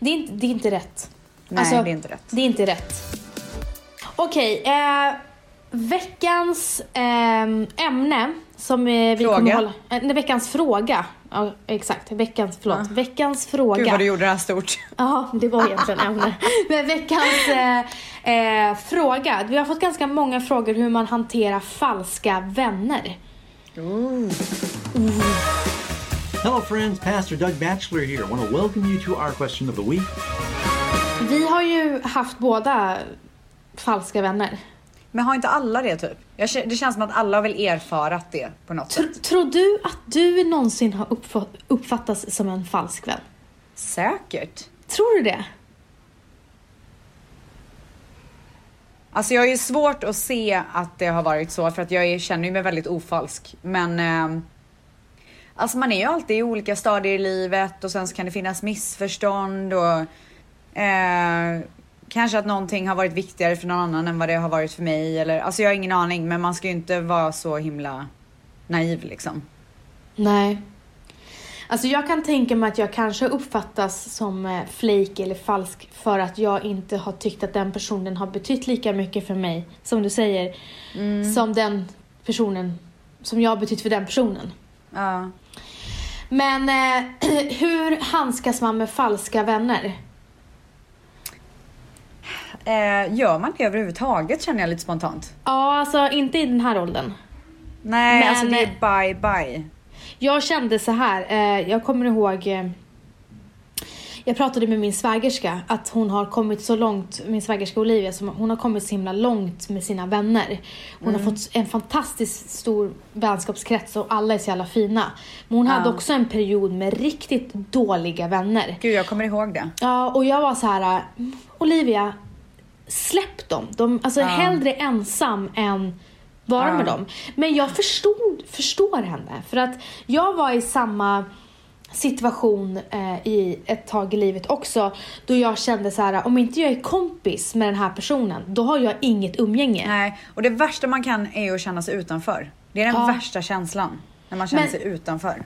det, är, inte, det är inte rätt. Alltså,
Nej, det är inte rätt.
Det är inte rätt. Okej, eh, veckans ehm, ämne som eh, vi
Fråga.
kommer hålla... eh, Nej, veckans fråga. Ja, exakt. Veckans, förlåt. Veckans fråga.
Gud vad du gjorde det här stort.
Ja, det var egentligen ämne. Men veckans eh, eh, fråga. Vi har fått ganska många frågor hur man hanterar falska vänner.
Hello, friends. Pastor Doug Batchelor here. I want to welcome you to our question of the week.
Vi har ju haft båda falska vänner.
Men har inte alla det typ? Jag, kä- det känns som att alla har väl erfarat det på något sätt.
Tr- tror du att du någonsin har uppfatt- uppfattats som en falsk vän?
Säkert.
Tror du det?
Alltså jag är ju svårt att se att det har varit så för att jag är, känner ju mig väldigt ofalsk. Men ehm, alltså man är ju alltid i olika stadier i livet och sen så kan det finnas missförstånd och eh, kanske att någonting har varit viktigare för någon annan än vad det har varit för mig. Eller, alltså jag har ingen aning men man ska ju inte vara så himla naiv liksom.
Nej. Alltså jag kan tänka mig att jag kanske uppfattas som eh, flake eller falsk för att jag inte har tyckt att den personen har betytt lika mycket för mig, som du säger, som den personen, som jag har betytt för den personen.
Ja.
Men eh, hur handskas man med falska vänner?
Eh, gör man det överhuvudtaget känner jag lite spontant.
Ja, alltså inte i den här åldern.
Nej
Men-
alltså det är bye bye.
Jag kände så här, eh, jag kommer ihåg eh, jag pratade med min svägerska att hon har kommit så långt, min svägerska Olivia, som hon har kommit så himla långt med sina vänner. Hon har fått en fantastiskt stor vänskapskrets och alla är så jävla fina. Men hon hade också en period med riktigt dåliga vänner.
Gud jag kommer ihåg det.
Ja, och jag var så här, "Mm, Olivia, släpp dem. De, alltså hellre ensam än vara med dem. Men jag förstod, förstår henne. För att jag var i samma situation eh, i ett tag i livet också då jag kände så här om inte jag är kompis med den här personen då har jag inget umgänge.
Nej, och det värsta man kan är ju att känna sig utanför. Det är den
Ja.
värsta känslan. När man känner
Men-
sig utanför.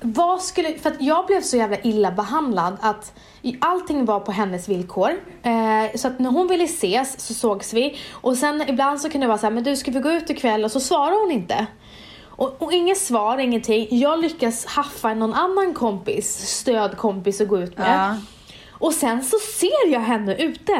Vad skulle, för att jag blev så jävla illa behandlad att i- allting var på hennes villkor. Eh, så att när hon ville ses så sågs vi och sen ibland så kunde det vara så här, men du ska vi gå ut ikväll och så svarar hon inte. Och, och inget svar, ingenting. Jag lyckas haffa någon annan kompis, stödkompis att gå ut med.
Ja.
Och sen så ser jag henne ute.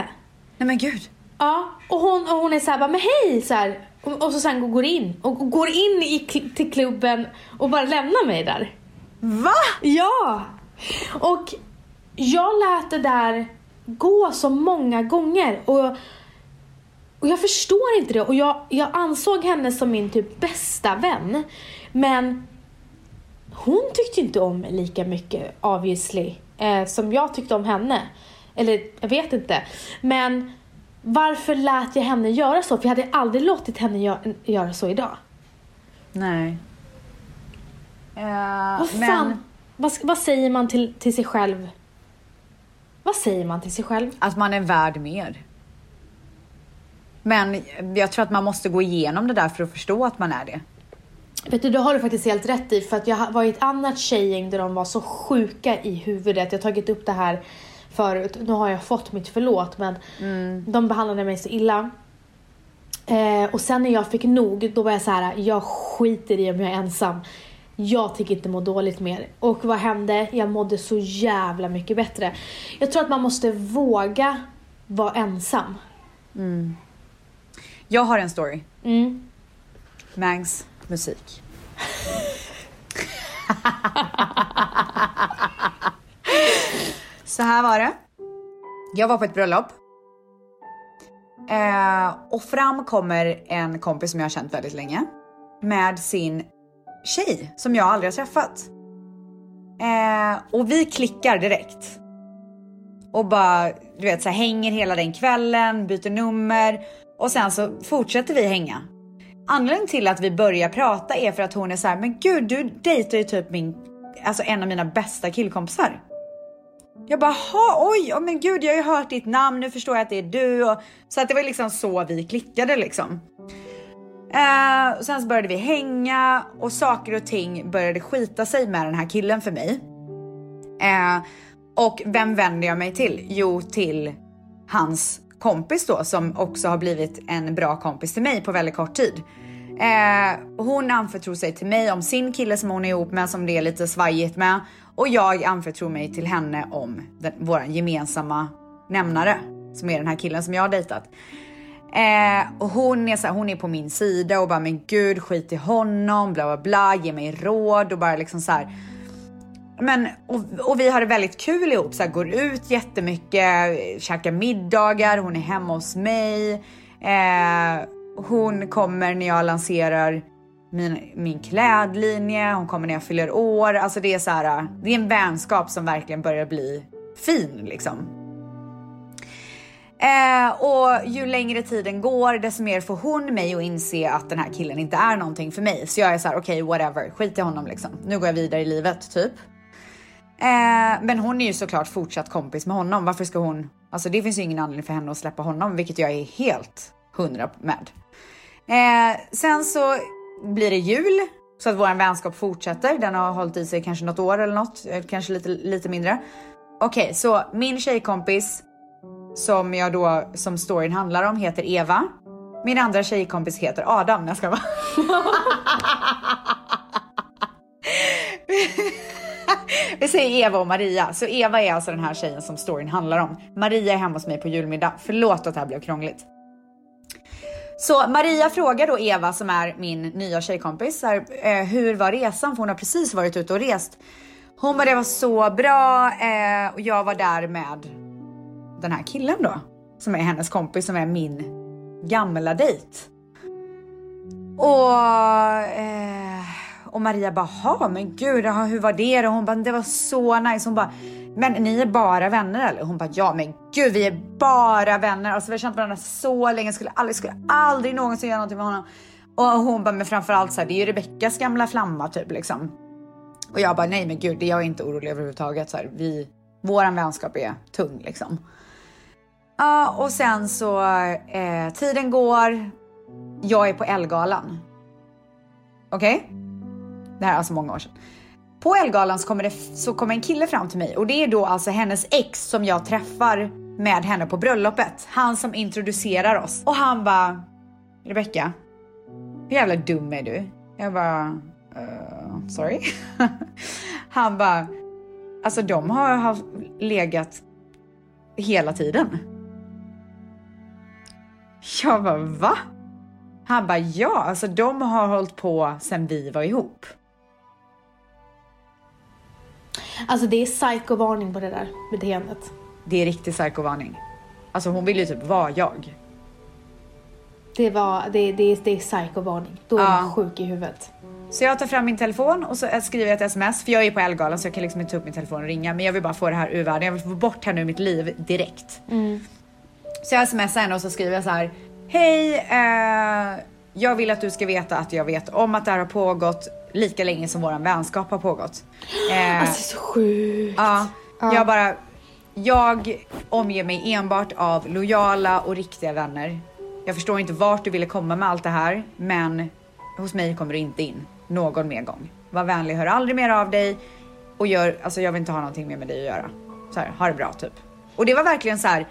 Nej men gud.
Ja, och hon, och hon är såhär bara, men hej! Så här, och, och så sen går in, och, och går in i, kl- till klubben och bara lämnar mig där.
Va?
Ja! Och jag lät det där gå så många gånger. Och, och jag förstår inte det. Och jag, jag ansåg henne som min typ bästa vän. Men hon tyckte inte om mig lika mycket obviously eh, som jag tyckte om henne. Eller jag vet inte. Men varför lät jag henne göra så? För jag hade aldrig låtit henne gö- göra så idag.
Nej. Eh,
Vad fan? Vad, ska- vad säger man till, till sig själv? Vad säger man till sig själv?
Att man är värd mer. Men jag tror att man måste gå igenom det där för att förstå att man är det.
Vet du, det har du faktiskt helt rätt i. För att jag var i ett annat tjejgäng där de var så sjuka i huvudet. Jag har tagit upp det här förut. Nu har jag fått mitt förlåt men de behandlade mig så illa. Eh, och sen när jag fick nog, då var jag så här: jag skiter i om jag är ensam. Jag tänker inte må dåligt mer. Och vad hände? Jag mådde så jävla mycket bättre. Jag tror att man måste våga vara ensam.
Jag har en story.
Mm.
Mangs musik. Så här var det. Jag var på ett bröllop. Eh, och fram kommer en kompis som jag har känt väldigt länge. Med sin tjej som jag aldrig har träffat. Eh, och vi klickar direkt. Och bara, du vet, så här, hänger hela den kvällen, byter nummer. Och sen så fortsätter vi hänga. Anledningen till att vi börjar prata är för att hon är så här, men gud du dejtar ju typ min, alltså en av mina bästa killkompisar. Jag bara, ha, oj, ja, men gud jag har ju hört ditt namn, nu förstår jag att det är du. Och, så att det var liksom så vi klickade liksom. Eh, och sen så började vi hänga och saker och ting började skita sig med den här killen för mig. Eh, och vem vänder jag mig till? Jo, till hans kompis då som också har blivit en bra kompis till mig på väldigt kort tid. Eh, hon anförtror sig till mig om sin kille som hon är ihop med som det är lite svajigt med och jag anförtror mig till henne om den, våran gemensamma nämnare som är den här killen som jag har dejtat. Eh, och hon är, så här, hon är på min sida och bara men gud skit i honom, bla bla bla, ge mig råd och bara liksom så här Men, och, och vi har det väldigt kul ihop, så här, går ut jättemycket, käkar middagar, hon är hemma hos mig. Eh, hon kommer när jag lanserar min, min klädlinje, hon kommer när jag fyller år. Alltså det är så här, det är en vänskap som verkligen börjar bli fin liksom. Eh, och ju längre tiden går desto mer får hon mig att inse att den här killen inte är någonting för mig. Så jag är så här: okej whatever, skit i honom liksom. Nu går jag vidare i livet typ. Eh, men hon är ju såklart fortsatt kompis med honom. Varför ska hon? Alltså det finns ju ingen anledning för henne att släppa honom, vilket jag är helt hundra med. Eh, sen så blir det jul så att våran vänskap fortsätter. Den har hållit i sig kanske något år eller något, eh, kanske lite, lite mindre. Okej, så min tjejkompis som jag då, som storyn handlar om heter Eva. Min andra tjejkompis heter Adam. när jag ska vara. Vi säger Eva och Maria. Så Eva är alltså den här tjejen som storyn handlar om. Maria är hemma hos mig på julmiddag. Förlåt att det här blev krångligt. Så Maria frågar då Eva som är min nya tjejkompis så här, eh, hur var resan? För hon har precis varit ute och rest. Hon bara det var så bra eh, och jag var där med den här killen då. Som är hennes kompis som är min gamla dejt. Och, eh, och Maria bara, "Ha, men gud, jaha, hur var det då? Hon bara, det var så nice. Hon bara, men ni är bara vänner eller? Hon bara, ja men gud vi är bara vänner. Alltså vi har känt varandra så länge, skulle aldrig, skulle aldrig någonsin göra någonting med honom. Och hon bara, men framförallt så här, det är ju Rebeckas gamla flamma typ liksom. Och jag bara, nej men gud, det är jag inte orolig överhuvudtaget. Så här, vi, våran vänskap är tung liksom. Ja, och sen så, eh, tiden går. Jag är på Elgalan. Okej? Det här är alltså många år sedan. På Elgalan så kommer, det, så kommer en kille fram till mig och det är då alltså hennes ex som jag träffar med henne på bröllopet. Han som introducerar oss. Och han bara, Rebecka, hur jävla dum är du? Jag bara, "Eh, sorry. han bara, alltså de har haft, legat hela tiden. Jag bara, va? Han bara, ja, alltså de har hållit på sen vi var ihop.
Alltså det är psykovarning på det där beteendet.
Det är riktig psykovarning. Alltså hon vill ju typ vara jag.
Det, var, det, det, det är psykovarning. Då är
Ja.
man sjuk i huvudet.
Så jag tar fram min telefon och så skriver jag ett sms, för jag är på Ellegalan så jag kan liksom inte ta upp min telefon och ringa. Men jag vill bara få det här ur världen, jag vill få bort henne ur mitt liv direkt. Så jag smsar henne och så skriver jag så här. Hej, eh, jag vill att du ska veta att jag vet om att det här har pågått lika länge som våran vänskap har pågått. Eh,
Alltså det är så sjukt.
Ja, jag bara. Jag omger mig enbart av lojala och riktiga vänner. Jag förstår inte vart du ville komma med allt det här, men hos mig kommer du inte in någon mer gång. Var vänlig, hör aldrig mer av dig och gör, alltså jag vill inte ha någonting mer med dig att göra. Så här, ha det bra typ. Och det var verkligen så här.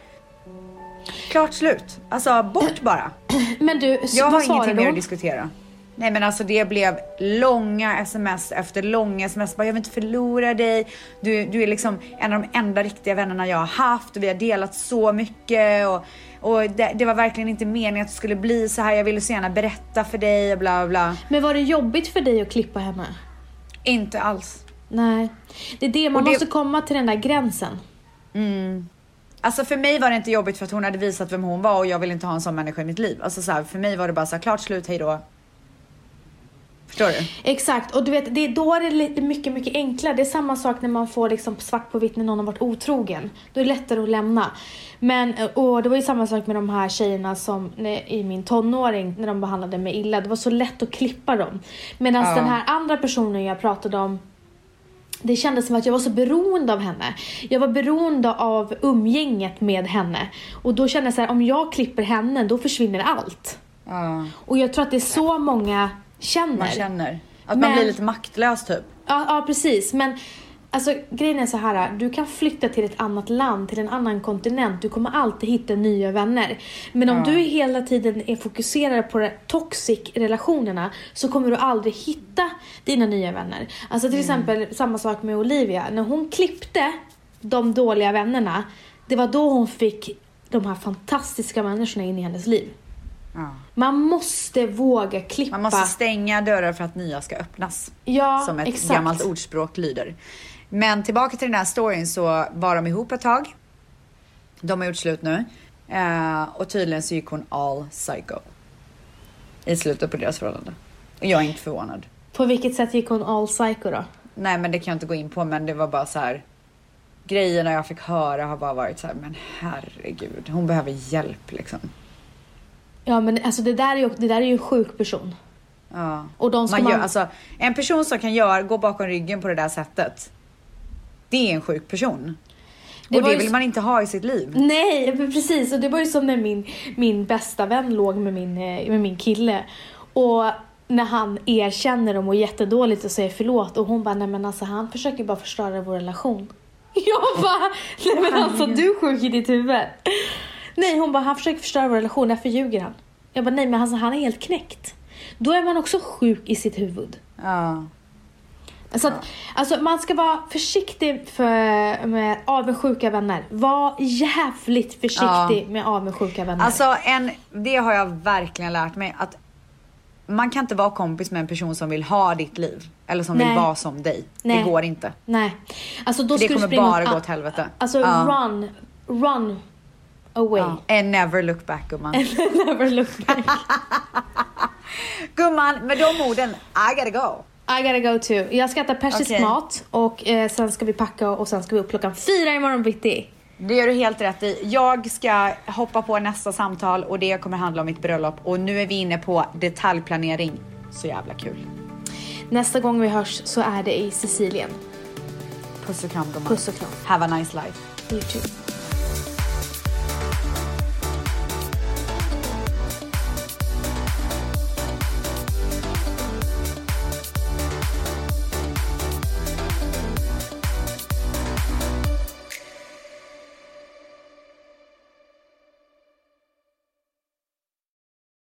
Klart slut. Alltså bort bara.
Men du, s-
Jag har
vad
ingenting
svarade
mer att
hon?
diskutera. Nej men alltså det blev långa sms efter långa sms. Bara, jag vill inte förlora dig. Du, du är liksom en av de enda riktiga vännerna jag har haft och vi har delat så mycket. Och, och det, det var verkligen inte meningen att det skulle bli så här. Jag ville så gärna berätta för dig och bla bla.
Men var det jobbigt för dig att klippa henne?
Inte alls.
Nej. Det är det, man
Och det-
måste komma till den där gränsen.
Alltså för mig var det inte jobbigt för att hon hade visat vem hon var och jag vill inte ha en sån människa i mitt liv. Alltså så här, för mig var det bara så här, klart slut, hej då. Förstår du?
Exakt, och du vet, det, då är det lite mycket, mycket enklare. Det är samma sak när man får liksom svart på vitt när någon har varit otrogen. Då är det lättare att lämna. Men, eh, och det var ju samma sak med de här tjejerna som när- i min tonåring, när de behandlade mig illa. Det var så lätt att klippa dem. Medan
Ja.
den här andra personen jag pratade om, det kändes som att jag var så beroende av henne. Jag var beroende av umgänget med henne. Och då kände jag så här, om jag klipper henne, då försvinner allt.
Ja,
Och jag tror att det är så många känner.
man känner. Att man
Men-
blir lite maktlös typ.
Ja, ja precis. Men alltså, grejen är så här. Du kan flytta till ett annat land, till en annan kontinent. Du kommer alltid hitta nya vänner. Men om du hela tiden är fokuserad på de toxic relationerna så kommer du aldrig hitta dina nya vänner. Alltså till
Mm.
exempel samma sak med Olivia. När hon klippte de dåliga vännerna, det var då hon fick de här fantastiska människorna in i hennes liv.
Ja.
Man måste våga klippa.
Man måste stänga dörrar för att nya ska öppnas.
ja,
som ett
exakt.
gammalt ordspråk lyder. Men tillbaka till den här storyn så var de ihop ett tag. De har gjort slut nu. Eh, och tydligen så gick hon all psycho. I slutet på deras förhållande. Och jag är inte förvånad.
På vilket sätt gick hon all psycho då?
Nej men det kan jag inte gå in på men det var bara så här. Grejerna jag fick höra har bara varit så här, men herregud. Hon behöver hjälp liksom.
Ja men alltså det där är ju, det där är ju en sjuk person.
Ja.
Och de ska
Man
man...
gör, alltså, en person som kan göra, gå bakom ryggen på det där sättet. Det är en sjuk person.
Det
och
var
det
ju
vill
s-
man inte ha i sitt liv.
Nej, men precis. Och det var ju som när min, min bästa vän låg med min, eh, med min kille. Och när han erkänner och mår jättedåligt och säger förlåt och hon bara, nej men alltså han försöker bara förstöra vår relation. Jag bara, nej men alltså du är sjuk i ditt huvud. Nej, hon bara, han försöker förstöra vår relation, därför ljuger han. Jag bara, nej men alltså, han är helt knäckt. Då är man också sjuk i sitt huvud.
Ja.
Så att, alltså, man ska vara försiktig för, med avundsjuka vänner. Var jävligt
Ja.
försiktig med avundsjuka vänner.
Alltså en, det har jag verkligen lärt mig att man kan inte vara kompis med en person som vill ha ditt liv. Eller som
Nej.
vill vara som dig.
Nej.
Det går inte.
Nej. Alltså, då
För det
ska du
kommer
springa
bara
åt-
gå åt helvete.
Alltså
Ja.
run, run away.
Ja. And never look back gumman.
Never look back.
gumman, med de orden, I gotta go.
I gotta go too. Jag ska äta persisk
Okej.
mat och eh, sen ska vi packa och sen ska vi upp klockan fyra imorgon bitti.
Det gör du helt rätt i. Jag ska hoppa på nästa samtal och det kommer handla om mitt bröllop och nu är vi inne på detaljplanering. Så jävla kul.
Nästa gång vi hörs så är det i Sicilien.
Puss och kram gumman.
Puss och kram.
Have a nice life.
You too.